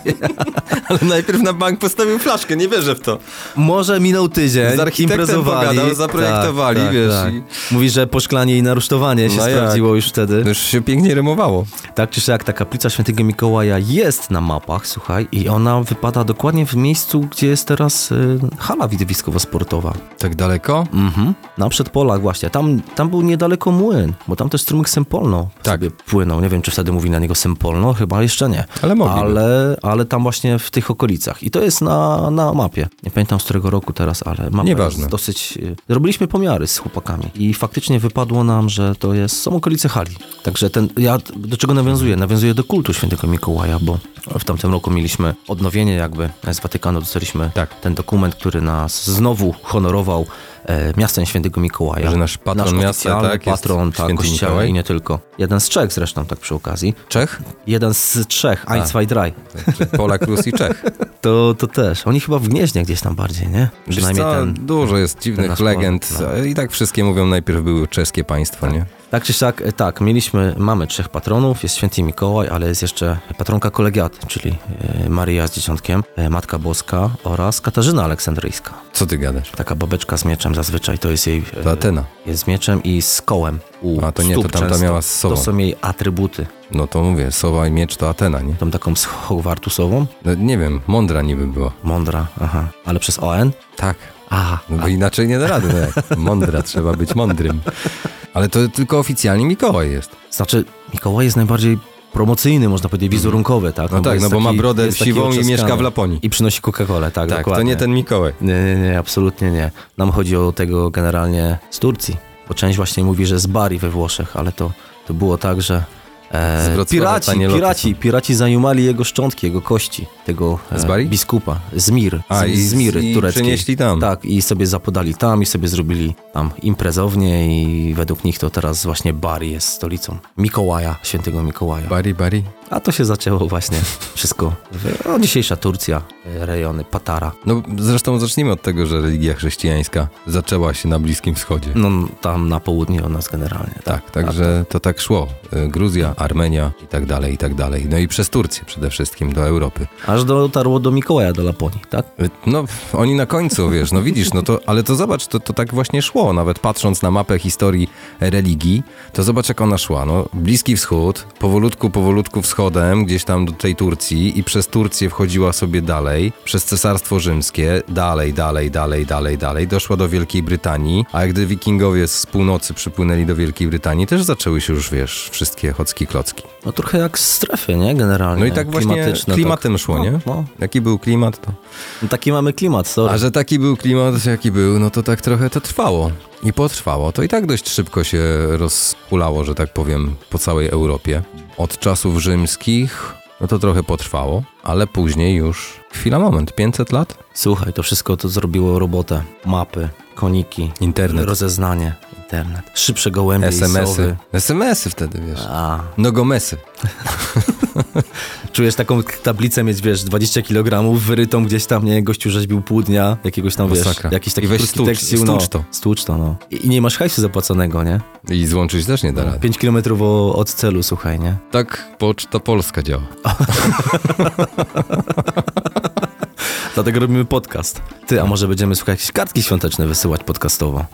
S1: Ale najpierw na bank postawił flaszkę, nie wierzę w to.
S2: Może minął tydzień,
S1: Z architektem
S2: imprezowali. Tak,
S1: pogadał, zaprojektowali, wiesz, i-
S2: Mówi, że poszklanie i narusztowanie się
S1: No jak?
S2: sprawdziło już wtedy.
S1: To już się pięknie rymowało.
S2: Tak czy siak, ta kaplica świętego Mikołaja jest na mapach, słuchaj, i ona wypada dokładnie w miejscu, gdzie jest teraz y, hala widowiskowo-sportowa.
S1: Tak daleko?
S2: Mhm. Na przedpolach właśnie. Tam, tam był niedaleko młyn, bo tam też strumyk Sempolno
S1: Tak.
S2: sobie płynął. Nie wiem, czy wtedy mówi na niego Sempolno, chyba jeszcze nie.
S1: Ale mogliby.
S2: ale, ale tam właśnie w tych okolicach. I to jest na, na mapie. Nie pamiętam z którego roku teraz, ale mapa
S1: Nieważne.
S2: jest dosyć... y, Robiliśmy pomiary z chłopakami i faktycznie wypadło nam, że to jest... są okolice hali. Także ten... ja t- do czego nawiązuję? Nawiązuję do kultu świętego Mikołaja, bo w tamtym roku mieliśmy odnowienie jakby z Watykanu, dostaliśmy
S1: Tak.
S2: ten dokument, który nas znowu honorował e, miastem świętego Mikołaja.
S1: Że nasz patron
S2: nasz
S1: miasta,
S2: oficjalny
S1: tak, jest
S2: patron, tak,
S1: święty
S2: kościelny
S1: Mikołaj?
S2: i nie tylko. Jeden z Czech zresztą, tak przy okazji.
S1: Czech?
S2: Jeden z trzech, Ein, zwei, drei.
S1: Polak, Rus i Czech.
S2: To, to też. Oni chyba w Gnieźnie gdzieś tam bardziej, nie? Przynajmniej
S1: Wiesz co,
S2: ten...
S1: Dużo jest dziwnych
S2: nasz
S1: legend.
S2: Polak,
S1: I tak wszystkie mówią, najpierw były czeskie państwo, nie?
S2: Tak czy siak, e, tak, mieliśmy, mamy trzech patronów, jest święty Mikołaj, ale jest jeszcze patronka kolegiaty, czyli e, Maria z Dzieciątkiem, e, Matka Boska oraz Katarzyna Aleksandryjska.
S1: Co ty gadasz?
S2: Taka babeczka z mieczem zazwyczaj, to jest jej... e,
S1: To Atena.
S2: Jest z mieczem i z kołem. U
S1: A, to nie, to
S2: stóp
S1: tamta
S2: często.
S1: miała z sobą.
S2: To są jej atrybuty.
S1: No to mówię, sowa i miecz to Atena, nie?
S2: Tą taką z Hogwartusową.
S1: No, nie wiem, mądra niby była.
S2: Mądra, aha. Ale przez ON?
S1: Tak.
S2: Aha.
S1: No bo inaczej nie da rady. No jak mądra, trzeba być mądrym. Ale to tylko oficjalnie Mikołaj jest.
S2: Znaczy, Mikołaj jest najbardziej promocyjny, można powiedzieć, wizerunkowy, tak?
S1: No, tak,
S2: jest
S1: no bo ma
S2: taki-
S1: brodę
S2: jest taki
S1: siwą i
S2: otrzaskany.
S1: mieszka w Laponii.
S2: I przynosi Coca-Colę, tak,
S1: tak,
S2: dokładnie.
S1: to nie ten Mikołaj.
S2: Nie, nie, nie, absolutnie nie. Nam chodzi o tego generalnie z Turcji, bo część właśnie mówi, że z Bari we Włoszech, ale to, to było tak, że
S1: Z
S2: e,
S1: Wrocławia
S2: piraci,
S1: tanieloty
S2: piraci, piraci zajumali jego szczątki, jego kości, tego e,
S1: Z Bari?
S2: biskupa, z Mir,
S1: A,
S2: z,
S1: i
S2: z
S1: z-
S2: Miry
S1: i
S2: tureckiej.
S1: przenieśli tam.
S2: Tak, i sobie zapodali tam i sobie zrobili tam imprezownie i według nich to teraz właśnie Bari jest stolicą Mikołaja, świętego Mikołaja.
S1: Bari, bari.
S2: A to się zaczęło właśnie wszystko. No, dzisiejsza Turcja, e, rejony Patara.
S1: No zresztą zacznijmy od tego, że religia chrześcijańska zaczęła się na Bliskim Wschodzie.
S2: No tam na południe od nas generalnie.
S1: Tak, także Mm. to tak szło. Y, Gruzja, Armenia i tak dalej, i tak dalej. No i przez Turcję przede wszystkim do Europy.
S2: Aż dotarło do Mikołaja do Laponii, tak?
S1: Y, No, oni na końcu, wiesz, no widzisz, no to, ale to zobacz, to, to tak właśnie szło, nawet patrząc na mapę historii religii, to zobacz jak ona szła, no, Bliski Wschód, powolutku, powolutku wschodem, gdzieś tam do tej Turcji i przez Turcję wchodziła sobie dalej, przez Cesarstwo Rzymskie, dalej, dalej, dalej, dalej, dalej, doszła do Wielkiej Brytanii, a gdy wikingowie z północy przypłynęli do Wielkiej Brytanii, też zaczęły się już, wiesz, wszystkie chocki klocki.
S2: No trochę jak z strefy, nie? Generalnie.
S1: No i tak właśnie
S2: klimatyczne,
S1: klimatem
S2: tak.
S1: szło, nie?
S2: No, no.
S1: Jaki był klimat, to...
S2: no taki mamy klimat, sorry.
S1: A że taki był klimat, jaki był, no to tak trochę to trwało. I potrwało. To i tak dość szybko się rozhulało, że tak powiem, po całej Europie. Od czasów rzymskich, no to trochę potrwało, ale później już, chwila, moment, 500 lat?
S2: Słuchaj, to wszystko to zrobiło robotę. Mapy, koniki,
S1: Internet.
S2: rozeznanie, internet, szybsze gołębie i sowy.
S1: SMS-y. SMS-y wtedy, wiesz. No
S2: A,
S1: Nogomesy.
S2: czujesz taką tablicę mieć, wiesz, 20 kg wyrytą gdzieś tam, nie, gościu rzeźbił pół dnia, jakiegoś tam, wiesz,
S1: Masakra.
S2: jakiś taki
S1: I weź
S2: krótki
S1: stłucz-
S2: tekścił,
S1: stłucz
S2: no,
S1: to.
S2: Stłucz to, no. I, I nie masz hajsu zapłaconego, nie?
S1: I złączyć też nie da rady.
S2: 5 km od celu, słuchaj, nie?
S1: Tak Poczta Polska działa.
S2: Dlatego robimy podcast. Ty, a może będziemy słuchać jakieś kartki świąteczne wysyłać podcastowo?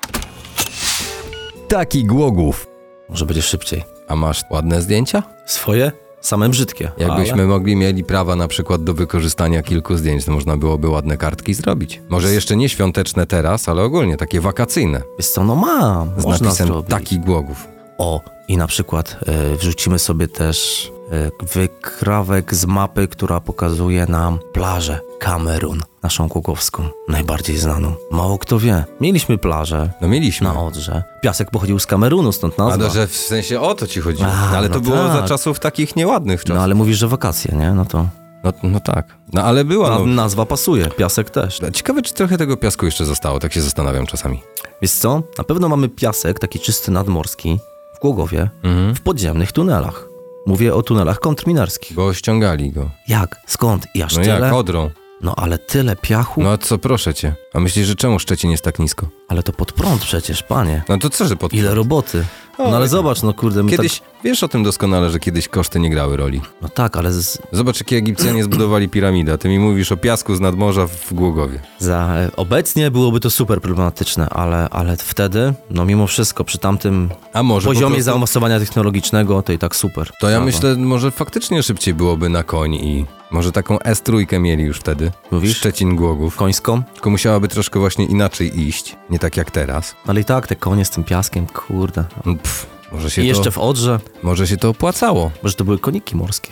S1: Taki Głogów.
S2: Może będzie szybciej.
S1: A masz ładne zdjęcia?
S2: Swoje? Same brzydkie.
S1: Jakbyśmy
S2: Ale...
S1: mogli mieli prawa na przykład do wykorzystania kilku zdjęć, to można byłoby ładne kartki zrobić. Może jeszcze nie świąteczne teraz, ale ogólnie takie wakacyjne.
S2: Wiesz co, no mam.
S1: Z
S2: Można
S1: napisem
S2: tak, zrobić.
S1: taki głogów.
S2: O, i na przykład e, wrzucimy sobie też e, wykrawek z mapy, która pokazuje nam plażę Kamerun, naszą kukowską, najbardziej znaną. Mało kto wie. Mieliśmy plażę
S1: No mieliśmy.
S2: na Odrze. Piasek pochodził z Kamerunu, stąd nazwa.
S1: A no, że w sensie o to ci chodziło.
S2: A,
S1: No, ale
S2: no
S1: to było za
S2: tak.
S1: czasów takich nieładnych czasów.
S2: No ale mówisz, że wakacje, nie? No to
S1: No, no tak. No ale była.
S2: na,
S1: No.
S2: nazwa pasuje, piasek też.
S1: Ciekawe, czy trochę tego piasku jeszcze zostało, tak się zastanawiam czasami.
S2: Wiesz co? Na pewno mamy piasek, taki czysty nadmorski, w Głogowie, w podziemnych tunelach. Mówię o tunelach kontrminarskich.
S1: Bo ściągali go.
S2: Jak? Skąd? I aż
S1: No
S2: tyle?
S1: jak, odrą.
S2: No ale tyle piachu,
S1: No a co, proszę cię. A myślisz, że czemu Szczecin jest tak nisko?
S2: ale to pod prąd przecież, panie.
S1: No to co, że pod...
S2: Ile roboty. No ale zobacz, no kurde, my
S1: Kiedyś, wiesz o tym doskonale, że kiedyś koszty nie grały roli.
S2: tak... No tak, ale z,
S1: Zobacz, jakie Egipcjanie zbudowali piramidę, a ty mi mówisz o piasku z nadmorza w Głogowie.
S2: za... Obecnie byłoby to super problematyczne, ale, ale wtedy, no mimo wszystko, przy tamtym
S1: A może po
S2: poziomie
S1: prostu-
S2: zaawansowania technologicznego, to i tak super.
S1: To ja
S2: Brawo.
S1: myślę, może faktycznie szybciej byłoby na koń i może taką S3 mieli już wtedy.
S2: Mówisz?
S1: Szczecin Głogów.
S2: Końską?
S1: Tylko musiałaby troszkę właśnie inaczej iść, nie tak jak teraz.
S2: Ale i tak, te konie z tym piaskiem, kurde.
S1: No, Pff, może, się
S2: I jeszcze
S1: to,
S2: w Odrze,
S1: może się to opłacało.
S2: może to były koniki morskie.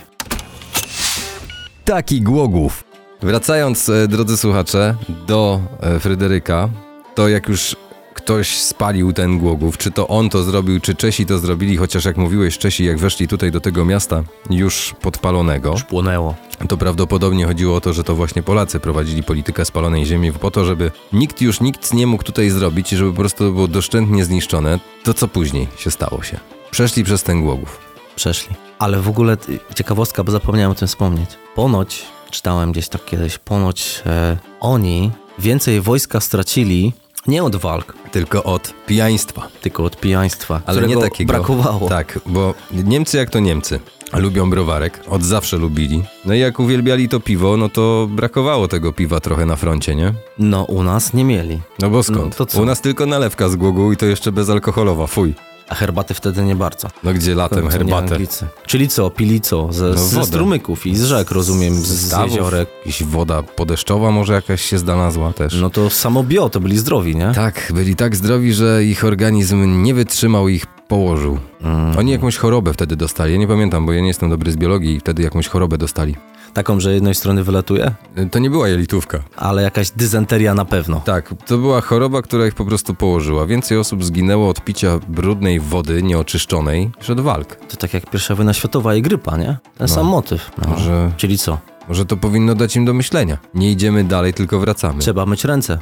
S1: Taki Głogów. Wracając, e, drodzy słuchacze, do e, Fryderyka, to jak już ktoś spalił ten Głogów, czy to on to zrobił, czy Czesi to zrobili, chociaż jak mówiłeś, Czesi jak weszli tutaj do tego miasta już podpalonego,
S2: Już płonęło.
S1: to prawdopodobnie chodziło o to, że to właśnie Polacy prowadzili politykę spalonej ziemi po to, żeby nikt już nic nie mógł tutaj zrobić i żeby po prostu to było doszczętnie zniszczone. To co później się stało się? Przeszli przez ten Głogów.
S2: przeszli. Ale w ogóle y, ciekawostka, bo zapomniałem o tym wspomnieć. Ponoć, czytałem gdzieś tak kiedyś, ponoć e, oni więcej wojska stracili nie od walk,
S1: Tylko od pijaństwa.
S2: tylko od pijaństwa,
S1: Ale nie
S2: którego
S1: takiego.
S2: brakowało.
S1: Tak, bo Niemcy jak to Niemcy. Lubią browarek, od zawsze lubili. No i jak uwielbiali to piwo, no to brakowało tego piwa trochę na froncie, nie?
S2: No u nas nie mieli,
S1: No bo skąd?
S2: to co?
S1: U nas tylko nalewka z głogu i to jeszcze bezalkoholowa, fuj.
S2: a herbaty wtedy nie bardzo.
S1: No gdzie latem
S2: Co nie
S1: herbatę? No
S2: Anglicy. Czyli co, pili co? Ze, ze
S1: wodę.
S2: strumyków i z rzek, rozumiem, No, z, z
S1: stawów.
S2: jeziorek.
S1: Jakaś woda podeszczowa może jakaś się znalazła też.
S2: No to samo bio, to byli zdrowi, nie?
S1: Tak, byli tak zdrowi, że ich organizm nie wytrzymał i ich położył.
S2: Mhm.
S1: Oni jakąś chorobę wtedy dostali. Ja nie pamiętam, bo ja nie jestem dobry z biologii i wtedy jakąś chorobę dostali.
S2: Taką, że jednej strony wylatuje,
S1: Y, To nie była jelitówka.
S2: ale jakaś dysenteria na pewno.
S1: Tak, to była choroba, która ich po prostu położyła. Więcej osób zginęło od picia brudnej wody nieoczyszczonej niż od walk.
S2: To tak jak pierwsza wojna światowa i grypa, nie? Ten sam motyw. No.
S1: Może-
S2: Czyli co?
S1: Może to powinno dać im do myślenia. Nie idziemy dalej, tylko wracamy.
S2: Trzeba myć ręce.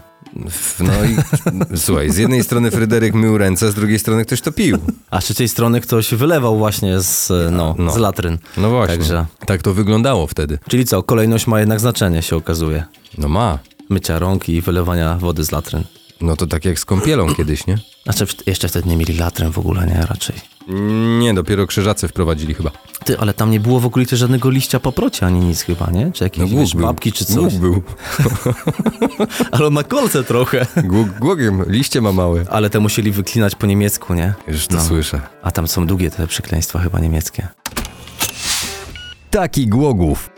S1: F- No i słuchaj, z jednej strony Fryderyk mył ręce, z drugiej strony ktoś to pił.
S2: A z trzeciej strony ktoś wylewał właśnie z, no,
S1: No.
S2: z latryn.
S1: No właśnie.
S2: Także-
S1: Tak to wyglądało wtedy.
S2: Czyli co, kolejność ma jednak znaczenie, się okazuje.
S1: No ma.
S2: Mycia rąk i wylewania wody z latryn.
S1: No to tak jak z kąpielą kiedyś, nie?
S2: Znaczy, w- jeszcze wtedy nie mieli latryn w ogóle, nie? Raczej.
S1: Nie, dopiero krzyżacy wprowadzili chyba.
S2: Ty, ale tam nie było w okolicy żadnego liścia paprocia ani nic chyba, nie? Czy
S1: No
S2: jakieś
S1: głóg
S2: wiesz,
S1: był.
S2: babki czy coś.
S1: Głóg był.
S2: Ale on ma kolce trochę.
S1: Głóg, głogiem, liście ma małe.
S2: Ale te musieli wyklinać po niemiecku, nie?
S1: Już to słyszę.
S2: A tam są długie te przekleństwa chyba niemieckie.
S1: Taki głogów.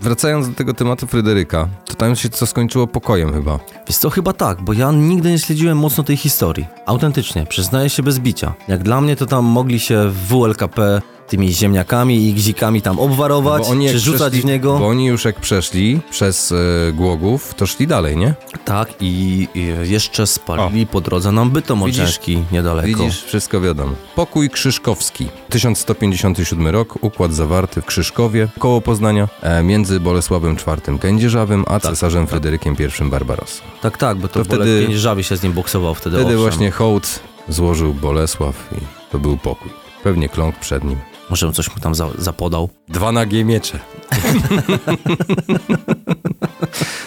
S1: Wracając do tego tematu Fryderyka, to tam się co skończyło pokojem chyba.
S2: Wiesz co, chyba tak, bo ja nigdy nie śledziłem mocno tej historii. Autentycznie, przyznaję się bez bicia. Jak dla mnie to tam mogli się w WLKP tymi ziemniakami i gzikami tam obwarować,
S1: Bo oni jak
S2: czy rzucać
S1: przeszli-
S2: w niego.
S1: Bo oni już jak przeszli przez e, głogów, to szli dalej, nie?
S2: Tak, i, i jeszcze spalili po drodze nam bytom
S1: Widzisz?
S2: odrzeszki niedaleko.
S1: Widzisz, wszystko wiadomo. Pokój Krzyżkowski. 1157 rok, układ zawarty w Krzyżkowie, koło Poznania, e, między Bolesławem IV Kędzierzawym, a cesarzem Fryderykiem I Barbarossą.
S2: Tak, tak, bo to,
S1: wtedy-
S2: wtedy Piężawi się z nim boksował wtedy,
S1: Wtedy
S2: owszem.
S1: właśnie hołd złożył Bolesław i to był pokój. Pewnie kląk przed nim.
S2: Może coś mu tam za, zapodał.
S1: Dwa nagie miecze.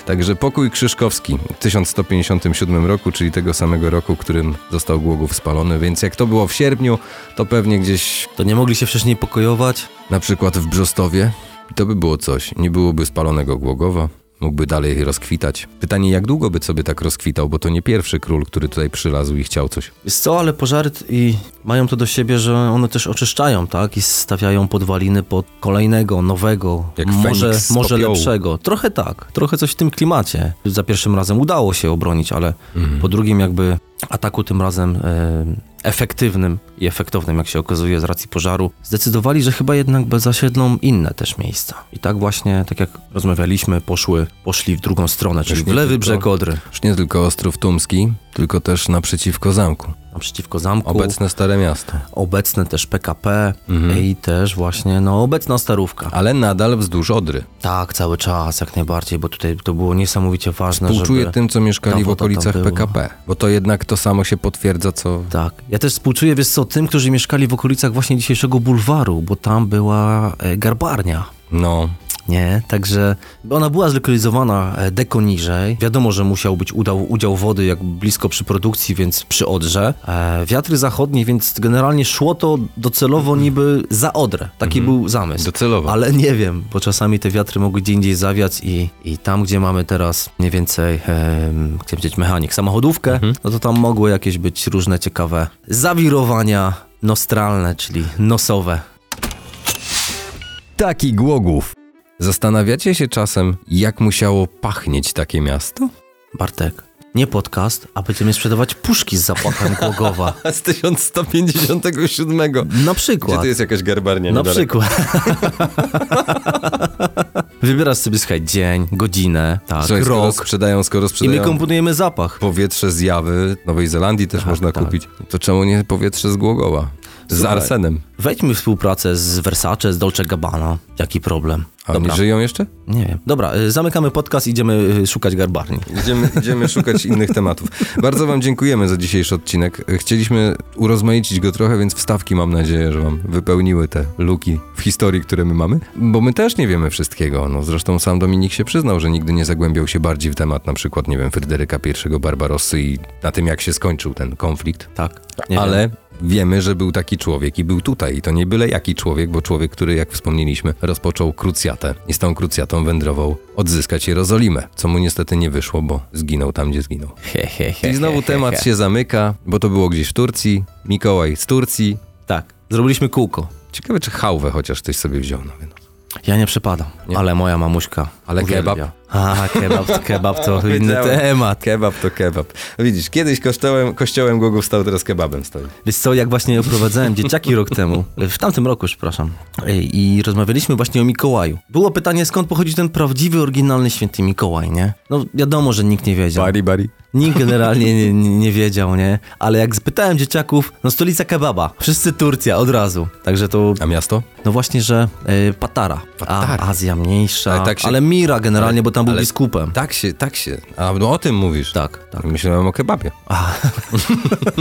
S1: Także pokój Krzyżkowski w 1157 roku, czyli tego samego roku, którym został Głogów spalony, więc jak to było w sierpniu, to pewnie gdzieś
S2: To nie mogli się wcześniej pokojować.
S1: Na przykład w Brzostowie? To by było coś. Nie byłoby spalonego Głogowa. Mógłby dalej rozkwitać. Pytanie, jak długo by sobie tak rozkwitał, bo to nie pierwszy król, który tutaj przylazł i chciał coś.
S2: Wiesz co, ale pożary t- i mają to do siebie, że one też oczyszczają, tak? I stawiają podwaliny pod kolejnego, nowego,
S1: Jak
S2: może,
S1: Feniks z
S2: może
S1: popiołu.
S2: lepszego.
S1: Mhm.
S2: Trochę tak, trochę coś w tym klimacie. Za pierwszym razem udało się obronić, ale po drugim jakby ataku, tym razem e, efektywnym i efektownym, jak się okazuje, z racji pożaru, zdecydowali, że chyba jednak be- zasiedlą inne też miejsca. I tak właśnie, tak jak rozmawialiśmy, poszły, poszli w drugą stronę, czyli
S1: Już
S2: w
S1: nie
S2: lewy
S1: tylko-
S2: brzeg Odry,
S1: Już nie tylko Ostrów Tumski, tylko też naprzeciwko zamku.
S2: naprzeciwko zamku,
S1: Obecne Stare Miasto.
S2: obecne też PKP
S1: Mhm.
S2: i też właśnie, no, obecna starówka.
S1: Ale nadal wzdłuż Odry.
S2: Tak, cały czas, jak najbardziej, bo tutaj to było niesamowicie ważne,
S1: Współczuję
S2: żeby...
S1: tym, co mieszkali
S2: ta
S1: w
S2: woda tam
S1: okolicach
S2: była.
S1: PKP, bo to jednak to samo się potwierdza, co...
S2: Tak. Ja też współczuję, wiesz co, tym, którzy mieszkali w okolicach właśnie dzisiejszego bulwaru, bo tam była e, garbarnia.
S1: No,
S2: Nie, także ona była zlokalizowana e, deko niżej. Wiadomo, że musiał być udał, udział wody jak blisko przy produkcji, więc przy Odrze. E, wiatry zachodnie, więc generalnie szło to docelowo niby za Odrę. Taki był zamysł.
S1: docelowo.
S2: Ale nie wiem, bo czasami te wiatry mogły gdzie indziej zawiać i, i tam, gdzie mamy teraz mniej więcej, em, chcę powiedzieć, mechanik, samochodówkę, no to tam mogły jakieś być różne ciekawe zawirowania nostralne, czyli nosowe.
S1: Taki Głogów. Zastanawiacie się czasem, jak musiało pachnieć takie miasto?
S2: Bartek, nie podcast, a będziemy sprzedawać puszki z zapachem głogowa.
S1: Z 1157.
S2: Na
S1: Gdzie
S2: przykład.
S1: to jest jakaś garbarnia?
S2: Na
S1: niedaleko?
S2: przykład. Wybierasz sobie, słuchaj, dzień, godzinę, tak,
S1: Słuchaj, skoro
S2: rok
S1: sprzedają, skoro
S2: i my
S1: sprzedają
S2: komponujemy zapach.
S1: powietrze z Jawy, Nowej Zelandii też można
S2: tak.
S1: kupić, to czemu nie powietrze z Głogowa? Z
S2: Słuchaj.
S1: arsenem.
S2: Wejdźmy w współpracę z Versace, z Dolce Gabbana. Jaki problem?
S1: A oni żyją jeszcze?
S2: Nie wiem. Dobra, y, zamykamy podcast, idziemy y, szukać garbarni.
S1: Idziemy, idziemy szukać innych tematów. Bardzo Wam dziękujemy za dzisiejszy odcinek. Chcieliśmy urozmaicić go trochę, więc wstawki mam nadzieję, że Wam wypełniły te luki w historii, które my mamy, bo my też nie wiemy wszystkiego. No, zresztą sam Dominik się przyznał, że nigdy nie zagłębiał się bardziej w temat, na przykład, nie wiem, Fryderyka I Barbarossy i na tym, jak się skończył ten konflikt.
S2: Tak. Nie
S1: Ale wiemy, że był taki człowiek i był tutaj. I to nie byle jaki człowiek, bo człowiek, który, jak wspomnieliśmy, rozpoczął krucjatę i z tą krucjatą wędrował odzyskać Jerozolimę, co mu niestety nie wyszło, bo zginął tam, gdzie zginął.
S2: He, he, he,
S1: I znowu
S2: he, he,
S1: temat
S2: he.
S1: się zamyka, bo to było gdzieś w Turcji. Mikołaj z Turcji.
S2: Tak. Zrobiliśmy kółko.
S1: Ciekawe, czy hałwę chociaż ktoś sobie wziął. No, no.
S2: Ja nie przepadam, ale moja mamuśka.
S1: Ale
S2: uwielbia.
S1: kebab?
S2: A, kebab, kebab to inny
S1: Wiedziałem.
S2: temat.
S1: Kebab to kebab. No Widzisz, kiedyś kościołem, kościołem Głogów stał, teraz kebabem stoi.
S2: Wiesz co, jak właśnie oprowadzałem dzieciaki rok temu, w tamtym roku, już, przepraszam, i i rozmawialiśmy właśnie o Mikołaju. Było pytanie, skąd pochodzi ten prawdziwy, oryginalny święty Mikołaj, nie? No wiadomo, że nikt nie wiedział.
S1: Bari, bari.
S2: Nikt generalnie nie, nie, nie wiedział, nie? Ale jak spytałem dzieciaków, no stolica kebaba. Wszyscy Turcja od razu. Także to,
S1: A miasto?
S2: no właśnie, że y, Patara.
S1: Patara.
S2: A, Azja mniejsza.
S1: Ale
S2: Ale,
S1: tak się-
S2: Mira generalnie,
S1: ale-
S2: bo tam był
S1: ale-
S2: biskupem.
S1: Tak się, tak się. A no, o tym mówisz.
S2: Tak, tak.
S1: Myślałem o kebabie.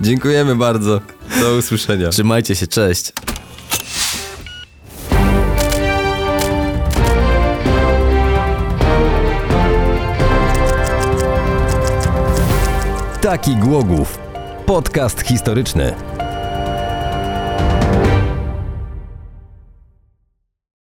S1: Dziękujemy bardzo. Do usłyszenia.
S2: Trzymajcie się, cześć.
S1: Taki Głogów. Podcast historyczny.